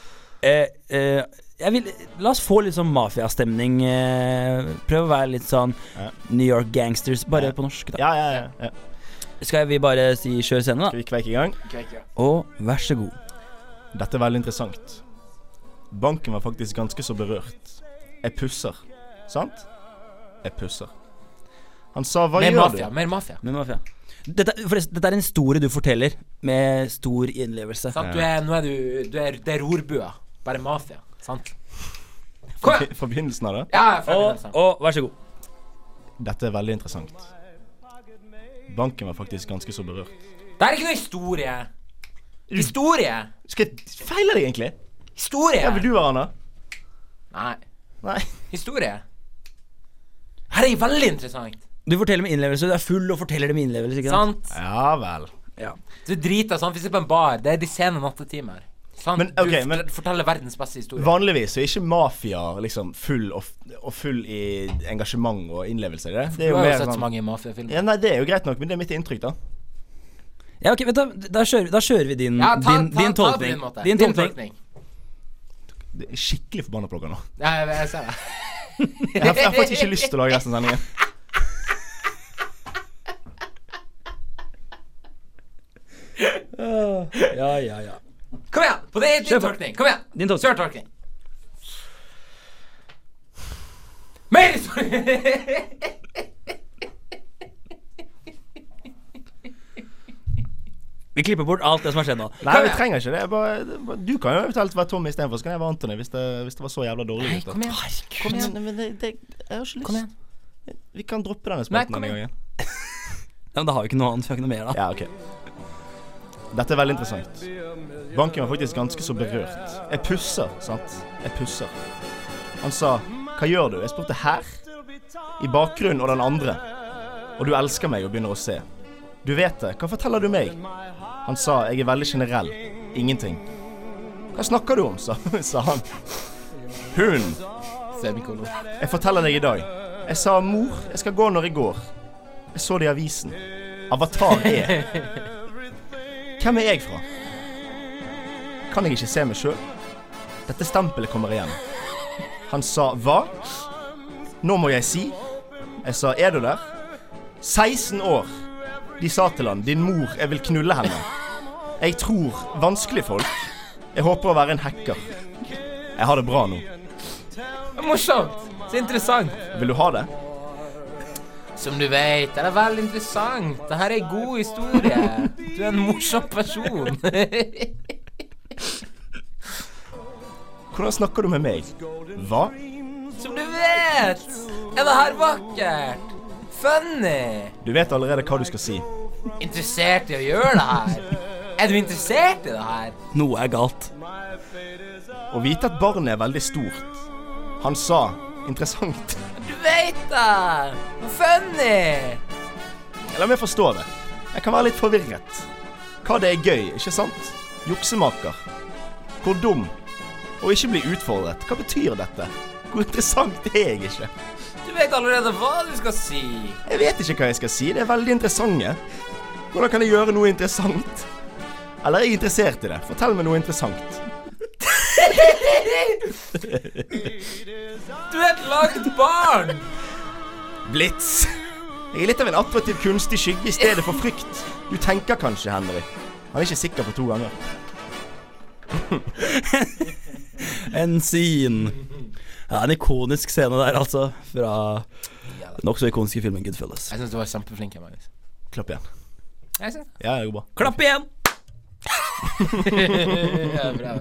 Speaker 2: Eh, eh, jeg vil, la oss få litt sånn mafiastemning. Eh, prøv å være litt sånn New York Gangsters, bare på norsk. da
Speaker 1: Ja, ja, ja. ja.
Speaker 2: Skal vi bare si kjør scenen, da?
Speaker 1: Skal vi kveike i
Speaker 3: eh,
Speaker 1: gang?
Speaker 2: Og vær så god.
Speaker 1: Dette er veldig interessant. Banken var faktisk ganske så berørt. Jeg pusser. Sant? Jeg pusser. Han sa 'hva
Speaker 3: Mer
Speaker 1: gjør
Speaker 3: mafia.
Speaker 1: du?'
Speaker 3: Mer mafia.
Speaker 2: Med mafia. Dette, forresten, dette er en historie du forteller med stor innlevelse.
Speaker 3: Sant? Du er, nå er du, du er, Det er rorbua. Bare mafia. Sant? Kom igjen!
Speaker 1: Forbi- Forbindelsen av det.
Speaker 3: Ja, jeg er ferdig med
Speaker 2: Og,
Speaker 3: den.
Speaker 2: og vær så god.
Speaker 1: Dette er veldig interessant. Banken var faktisk ganske så berørt.
Speaker 3: Det er ikke noe historie. Historie!
Speaker 1: Skal jeg feile deg, egentlig?
Speaker 3: Historie!
Speaker 1: Vil du være Anna?
Speaker 3: Nei.
Speaker 1: Nei.
Speaker 3: Historie. Her er veldig interessant.
Speaker 2: Du forteller med innlevelse. Du er full og forteller det med innlevelse. ikke sant?
Speaker 3: Sant?
Speaker 1: Ja vel.
Speaker 3: Du driter sånn. Vi sitter på en bar. Det er de sene nattetimer. Sant?
Speaker 1: Men, ok,
Speaker 3: du
Speaker 1: men-
Speaker 3: fort- forteller verdens beste historie.
Speaker 1: Vanligvis er ikke mafia liksom full og, f- og full i engasjement og innlevelse. er Det, det er
Speaker 3: du
Speaker 1: jo
Speaker 3: har jo
Speaker 1: mer
Speaker 3: sett så
Speaker 1: sånn
Speaker 3: mange mafiafilmer.
Speaker 1: ja, Nei, det er jo greit nok, men det er mitt inntrykk, da.
Speaker 2: Ja, ok, vent da, da, kjører, da kjører vi din,
Speaker 3: Ja, ta,
Speaker 2: din,
Speaker 3: ta,
Speaker 2: din
Speaker 3: ta det på
Speaker 2: tolkning.
Speaker 3: din måte.
Speaker 2: din tolkning.
Speaker 1: Det er skikkelig forbanna plugga nå.
Speaker 3: Ja, jeg, jeg ser det.
Speaker 1: Jeg har, jeg har faktisk ikke lyst til å lage resten av sendingen.
Speaker 2: Ja, ja, ja.
Speaker 3: Kom igjen! På det, din tolkning. Kom igjen!
Speaker 2: Din tolkning.
Speaker 3: Kjør tolkning. Mer historie!
Speaker 2: Vi klipper bort alt det som har skjedd nå.
Speaker 1: Nei, vi trenger ikke det. Jeg Bare, det er bare, du kan jo eventuelt være Tommy istedenfor, så kan jeg være Anthony hvis det, hvis det var så jævla dårlig. ut, da.
Speaker 3: Kom igjen. Kom igjen.
Speaker 1: Men det, det, jeg har ikke lyst.
Speaker 3: Kom igjen.
Speaker 1: Vi kan droppe denne
Speaker 3: Nei,
Speaker 1: spalten
Speaker 3: kom
Speaker 1: denne
Speaker 3: igjen.
Speaker 1: gangen.
Speaker 2: Ja, men da har vi ikke noe annet. Vi har ikke noe mer, da.
Speaker 1: Ja, ok. Dette er veldig interessant. Banken var faktisk ganske så berørt. Jeg pusser, sant? Jeg pusser. Han sa 'Hva gjør du?' Jeg spurte 'Her?' I bakgrunnen og den andre. Og du elsker meg og begynner å se. Du vet det, hva forteller du meg? Han sa 'Jeg er veldig generell. Ingenting'. Hva snakker du om, sa, sa han. Hun. Jeg forteller deg i dag. Jeg sa 'mor, jeg skal gå når jeg går'. Jeg så det i avisen. Avatar er Hvem er jeg fra? Kan jeg ikke se meg sjøl? Dette stempelet kommer igjen. Han sa hva? Nå må jeg si. Jeg sa er du der? 16 år. De sa til han din mor, jeg vil knulle henne. Jeg tror vanskelig folk. Jeg håper å være en hacker. Jeg har det bra nå.
Speaker 3: Det er morsomt. Så interessant.
Speaker 1: Vil du ha det?
Speaker 3: Som du vet, det er veldig interessant. Dette er en god historie. Du er en morsom person.
Speaker 1: Hvordan snakker du med meg? Hva?
Speaker 3: Som du vet, Er det her vakkert? Funny?
Speaker 1: Du vet allerede hva du skal si.
Speaker 3: Interessert i å gjøre det her? Er du interessert i det her?
Speaker 2: Noe er galt.
Speaker 1: Å vite at barnet er veldig stort. Han sa interessant.
Speaker 3: Du veit det! Funny!
Speaker 1: La meg forstå det. Jeg kan være litt forvirret. Hva det er gøy, ikke sant? Juksemaker. Hvor dum. Å ikke bli utfordret. Hva betyr dette? Hvor interessant er jeg ikke?
Speaker 3: Du veit allerede hva du skal si.
Speaker 1: Jeg vet ikke hva jeg skal si. Det er veldig interessante. Hvordan kan jeg gjøre noe interessant? Eller er jeg interessert i det? Fortell meg noe interessant.
Speaker 3: Du er et langt barn.
Speaker 1: Blitz. Jeg er litt av en attraktiv kunstig skygge i stedet for frykt. Du tenker kanskje, Henry. Han er ikke sikker på to ganger.
Speaker 2: En sin. Ja, en ikonisk scene der, altså. Fra den nokså ikoniske filmen Goodfellas.
Speaker 3: Jeg syns du var kjempeflink. her, Magnus.
Speaker 1: Klapp igjen.
Speaker 3: Jeg synes.
Speaker 1: Ja, det går bra.
Speaker 2: Klapp igjen!
Speaker 3: Ja, bra.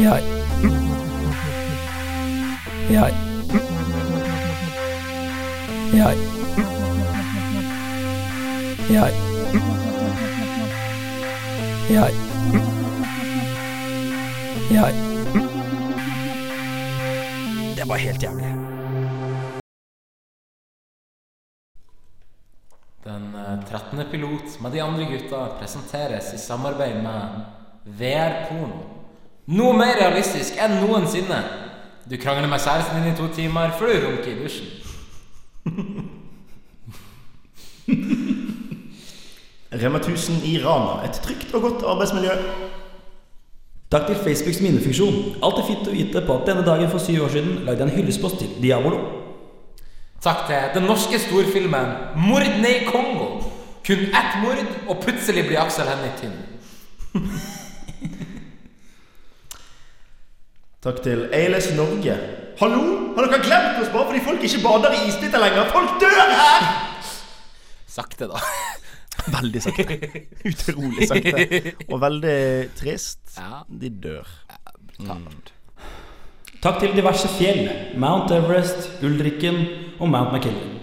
Speaker 2: Jeg. Jeg. Jeg. Jeg. Jeg. Jeg. Det var helt jævlig.
Speaker 3: Den eh, 13. pilot med de andre gutta presenteres i samarbeid med VR-porno. Noe mer realistisk enn noensinne. Du krangler med kjæresten din i to timer før du runker i dusjen.
Speaker 1: Rema 1000 i Rana. Et trygt og godt arbeidsmiljø.
Speaker 2: Takk til Facebooks minnefunksjon. Alltid fint å vite på at denne dagen for syv år siden lagde jeg en hyllestpost til Diabolo.
Speaker 3: Takk til den norske storfilmen 'Mordene i Kongo'. Kun ett mord, og plutselig blir Aksel Hennie tynn.
Speaker 1: Takk til Ailes Norge. Hallo? Har dere glemt oss bare fordi folk ikke bader i isbiter lenger? Folk dør her!
Speaker 3: Sakte, da.
Speaker 1: Veldig sakte. Utrolig sakte. Og veldig trist. De dør.
Speaker 2: Takk til diverse fjell. Mount Everest, Ulrikken og Mount McKinley.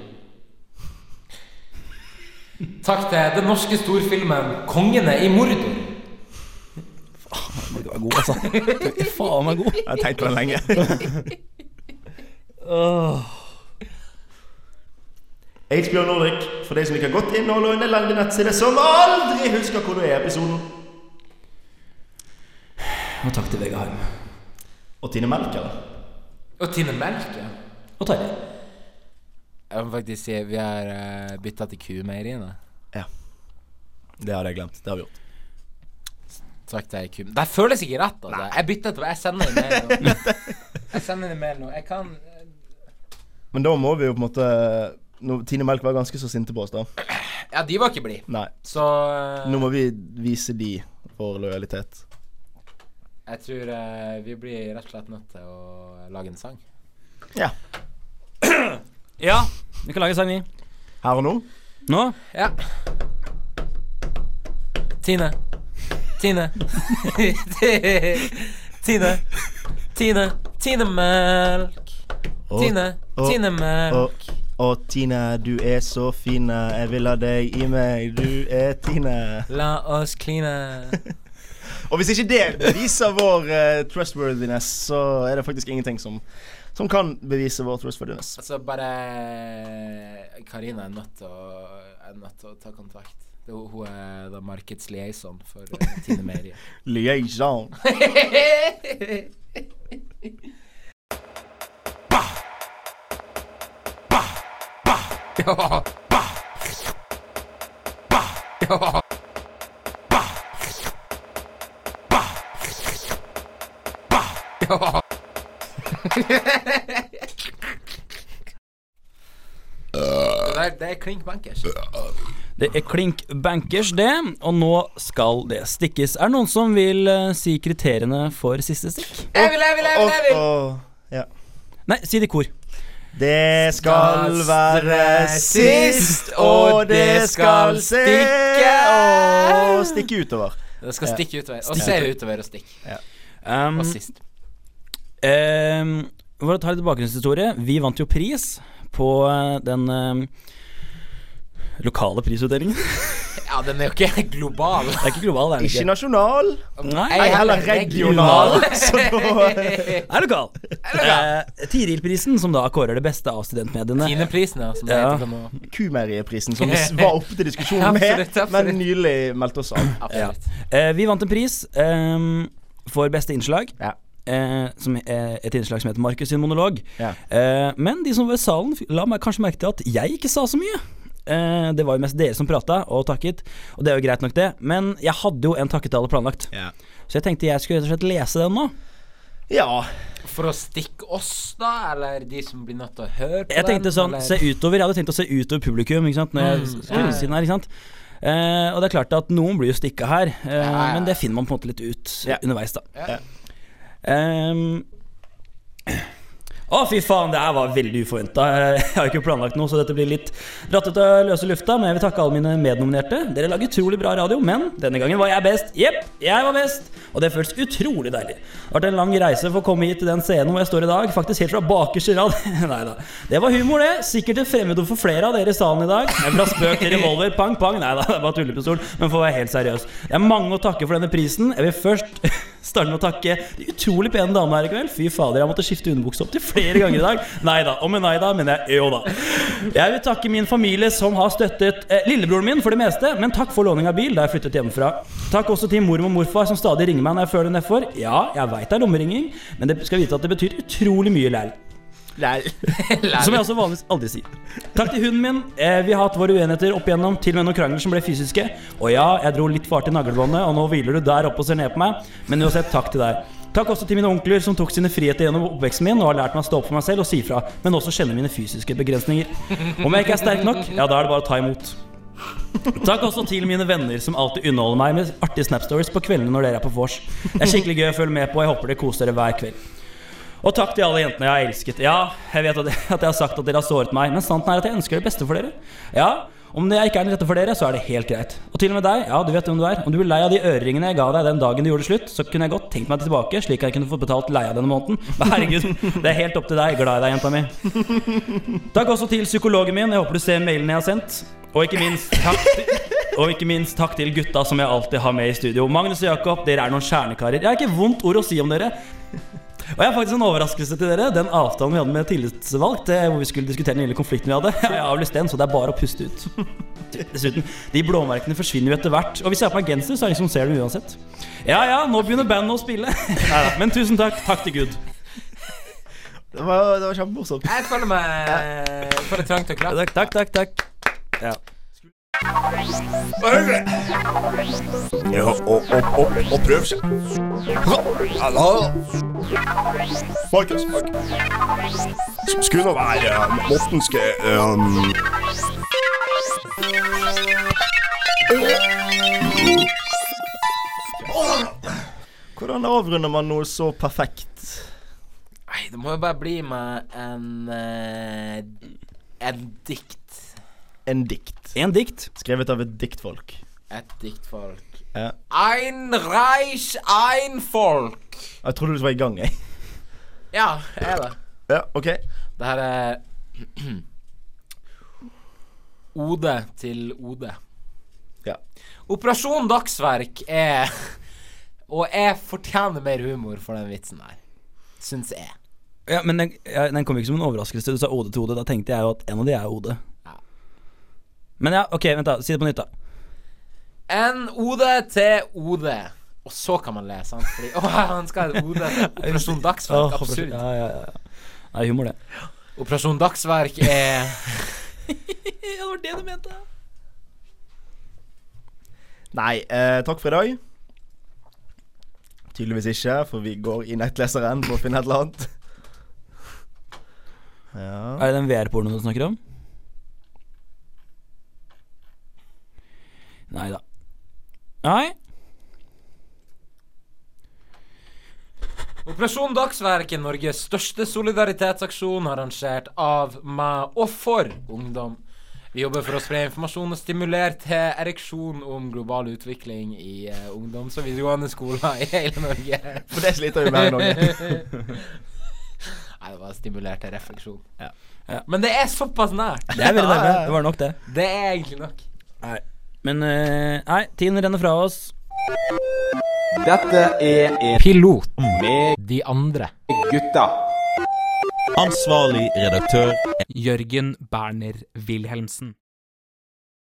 Speaker 3: Takk til den norske storfilmen 'Kongene i Mordor'.
Speaker 2: Du er god, altså. Du er faen meg god.
Speaker 1: Jeg har tenkt på den lenge. HBO Nordic, for deg som liker godt innhold og en elendig nettside som aldri husker hvor du er i episoden.
Speaker 2: Og takk til Vegard Harm.
Speaker 1: Og Tine Melker.
Speaker 3: Og Tine Melke.
Speaker 2: Og Tarjei.
Speaker 3: Jeg må faktisk si vi har uh, bytta til kumeieriene.
Speaker 1: Ja. Det hadde jeg glemt. Det har vi gjort.
Speaker 3: Takk til Kum. Det føles ikke rett, altså. Jeg bytter til Jeg sender en mail nå. Jeg sender en mail nå. Jeg kan
Speaker 1: Men da må vi jo på en måte nå- Tine Melk var ganske så sinte på oss, da.
Speaker 3: Ja, de var ikke blide.
Speaker 1: Nei.
Speaker 3: Så eh,
Speaker 1: Nå må vi vise de vår lojalitet.
Speaker 3: jeg tror eh, vi blir rett og slett nødt til å lage en sang.
Speaker 1: Ja.
Speaker 2: Ja, vi kan lage sang, vi.
Speaker 1: Her og nå.
Speaker 2: Nå?
Speaker 3: Ja. Tine. Tine. Tine. Tine. Tine Melk.
Speaker 1: Og-
Speaker 3: Tine.
Speaker 1: og-
Speaker 3: Tine
Speaker 1: Og,
Speaker 3: Melk.
Speaker 1: og Tine, du er så fin. eh. Jeg vil ha deg i meg. Du er Tine.
Speaker 3: La oss kline.
Speaker 1: Og hvis ikke det beviser vår eh, trustworthiness, så er det faktisk ingenting som, som kan bevise vår trustworthiness.
Speaker 3: Altså, bare Karina er nødt til å, er nødt til å ta kontakt. Det, hun- hun er da markedsliaison for eh, Tine Merie.
Speaker 1: Liaison.
Speaker 3: Ja. Ja. Ja. Det der- Det er klink bankers.
Speaker 2: Det er klink bankers, det. Og nå skal det stikkes. Er det noen som vil eh, si kriteriene for siste stikk?
Speaker 3: Jeg vil, jeg vil, jeg vil! Jeg vil.
Speaker 1: Og, ja.
Speaker 2: Nei, si det i kor.
Speaker 1: Det skal være sist, og det skal stikke og stikke utover.
Speaker 3: Det skal stikke utover. Og
Speaker 2: Stikke
Speaker 3: se utover og stikke.
Speaker 2: Um,
Speaker 3: Og sist.
Speaker 2: ehm, for å ta litt bakgrunnshistorie. Vi vant jo pris på eh, den eh, lokale prisutdelingen.
Speaker 3: Ja, den er jo ikke global.
Speaker 2: Det er ikke global, det er den
Speaker 1: Ikke nasjonal,
Speaker 2: Nei,
Speaker 1: ei heller regional. Så da
Speaker 2: Det er lokal. Eh, Tirilprisen, som da kårer det beste av studentmediene.
Speaker 3: Tineprisen, ja. Som det
Speaker 2: Ja.
Speaker 3: heter for noe.
Speaker 1: Kumeierprisen, som vi s- var oppe til diskusjon med,
Speaker 3: Absolutt, absolutt.
Speaker 1: men nylig meldte oss av.
Speaker 2: Ja.
Speaker 3: Absolutt.
Speaker 2: Eh, vi vant en pris ehm, for beste innslag.
Speaker 1: Ja.
Speaker 2: Eh, som, eh, et innslag som heter Markus sin monolog.
Speaker 1: Ja.
Speaker 2: Eh, men de som var i salen, f- la meg kanskje merke til at jeg ikke sa så mye. Eh, det var jo mest dere som prata og takket, og det er jo greit nok, det. Men jeg hadde jo en takketale planlagt, så jeg tenkte jeg skulle rett og slett lese den nå.
Speaker 1: ja.
Speaker 3: For å stikke oss, da? Eller de som blir nødt til å høre på
Speaker 2: Jeg tenkte
Speaker 3: den?
Speaker 2: sånn,
Speaker 3: eller?
Speaker 2: se utover Jeg hadde tenkt å se utover publikum Ikke sant Når jeg skulle
Speaker 3: Mm. ja.
Speaker 2: ved siden her Ikke sant Eh, Og det er klart at noen blir jo stikket her eh,
Speaker 3: ja.
Speaker 2: Men det finner man på en måte litt ut
Speaker 1: Ja.
Speaker 2: Underveis da
Speaker 3: Ja.
Speaker 2: Ehm. Å fy faen, det her var veldig uforventet Eh, Jeg har jo ikke planlagt noe Så dette blir litt rattet av løse lufta Men jeg vil takke alle mine mednominerte Dere lager utrolig bra radio Men denne gangen var jeg best Jep, jeg var best Og det føles utrolig deilig Det har vært en lang reise for å komme hit til den scenen hvor jeg står i dag Faktisk helt fra bakerste rad Neida Det var humor det Sikkert et fremmedord for flere av dere i salen i dag Men fra spøk til revolver Pang, pang Neida, det var tullepistol Men for å være helt seriøs Det er mange å takke for denne prisen Jeg vil først starte med å takke de utrolig pene damene her i kveld Fy fader, jeg måtte skifte underbukse opp til flere ganger i dag Neida, og med neida mener jeg jo da Jeg vil takke min familie som har støttet eh, lillebroren min for det meste Men takk for låning av bil da jeg flyttet hjemmefra Takk også til mormor og morfar som stadig ringer meg når jeg føler nedfor Ja, jeg vet det er lommeringing Men det skal vite at det betyr utrolig mye læl som jeg også vanligvis aldri sier. Takk til hunden min. Eh, vi har hatt våre uenigheter opp igjennom, til og med noen krangler som ble fysiske. Og ja, jeg dro litt for hardt i naglebåndet, og nå hviler du der oppe og ser ned på meg. Men uansett, takk til deg. Takk også til mine onkler som tok sine friheter gjennom oppveksten min og har lært meg å stå opp for meg selv og si fra, men også kjenne mine fysiske begrensninger. Om jeg ikke er sterk nok, ja, da er det bare å ta imot. Takk også til mine venner som alltid underholder meg med artige Snap-stories på kveldene når dere er på vors. Det er skikkelig gøy å følge med på, og jeg håper dere koser dere hver kveld. Og takk til alle jentene jeg har elsket. Ja, jeg vet at, at jeg har sagt at dere har såret meg, men sannheten er at jeg ønsker det beste for dere. Ja, om jeg ikke er den rette for dere, så er det helt greit. Og til og med deg, ja, du vet hvem du er. Om du blir lei av de øreringene jeg ga deg den dagen du gjorde det slutt, så kunne jeg godt tenkt meg tilbake, slik at jeg kunne fått betalt leia denne måneden. Men herregud, det er helt opp til deg. Glad i deg, jenta mi. Takk også til psykologen min. Jeg håper du ser mailen jeg har sendt. Og ikke minst takk til, og ikke minst takk til gutta som jeg alltid har med i studio. Magnus og Jakob, dere er noen kjernekarer. Jeg har ikke vondt ord å si om dere. Og jeg har faktisk en overraskelse til dere. Den avtalen vi hadde med tillitsvalgt, eh, hvor vi skulle diskutere den lille konflikten vi hadde, jeg har avlyst den, så det er bare å puste ut. Dessuten, de blåmerkene forsvinner jo etter hvert. Og hvis jeg har på meg genser, så er det ingen som ser dem uansett. Ja ja, nå begynner bandet å spille. Neida, Men tusen takk. Takk til Gud.
Speaker 1: Det var, det var kjempemorsomt.
Speaker 3: Jeg føler meg eh, Jeg føler trang til å klappe.
Speaker 2: Takk, takk, takk. takk. Ja.
Speaker 11: Markus. Skulle nå være um, Mortenske um, um-
Speaker 1: Hvordan avrunder man noe så perfekt?
Speaker 3: Nei, det må jo bare bli med en eh, En dikt.
Speaker 1: En dikt.
Speaker 2: En dikt.
Speaker 1: Skrevet av et diktfolk.
Speaker 3: Et diktfolk.
Speaker 1: Ja.
Speaker 3: Ein Reich, ein Folk.
Speaker 1: Jeg trodde du var i gang, jeg.
Speaker 3: Ja, er det.
Speaker 1: Ja, OK.
Speaker 3: Det her er Ode til Ode.
Speaker 1: Ja.
Speaker 3: Operasjon Dagsverk er Og jeg fortjener mer humor for den vitsen der. Syns jeg.
Speaker 2: Ja, men den, ja, den kom ikke som en overraskelse. Du sa Ode til Ode. Da tenkte jeg jo at en av de er Ode.
Speaker 3: Ja.
Speaker 2: Men ja, ok, vent da. Si det på nytt, da.
Speaker 3: En ode til ode. Og så kan man le, sant? Fordi å, han skal ha en ode til Operasjon Dagsverk.
Speaker 2: Åh,
Speaker 3: Absurd.
Speaker 2: Ja, ja, ja. Det er humor, det.
Speaker 3: Operasjon Dagsverk er
Speaker 2: Ja, det var det du mente.
Speaker 1: Nei, eh, takk for i dag. Tydeligvis ikke, for vi går i nettleseren for å finne et eller annet. Ja
Speaker 2: Er det den VR-pornoen du snakker om? Nei da. Nei.
Speaker 3: Operasjon Dagsverk er Norges største solidaritetsaksjon arrangert av meg og for ungdom. Vi jobber for å spre informasjon og stimulere til ereksjon om global utvikling i eh, ungdoms- og videregående skoler i hele Norge.
Speaker 1: For det sliter vi med i Norge.
Speaker 3: Nei, det var stimulert til refleksjon. Men det er såpass nært.
Speaker 2: Det er veldig nærme. Det var nok, det.
Speaker 3: Det er egentlig nok.
Speaker 2: Nei. Men eh, Nei, tiden renner fra oss.
Speaker 4: Dette er
Speaker 3: Piloten
Speaker 4: med
Speaker 3: de andre.
Speaker 4: gutta.
Speaker 6: Ansvarlig redaktør Jørgen Berner Wilhelmsen.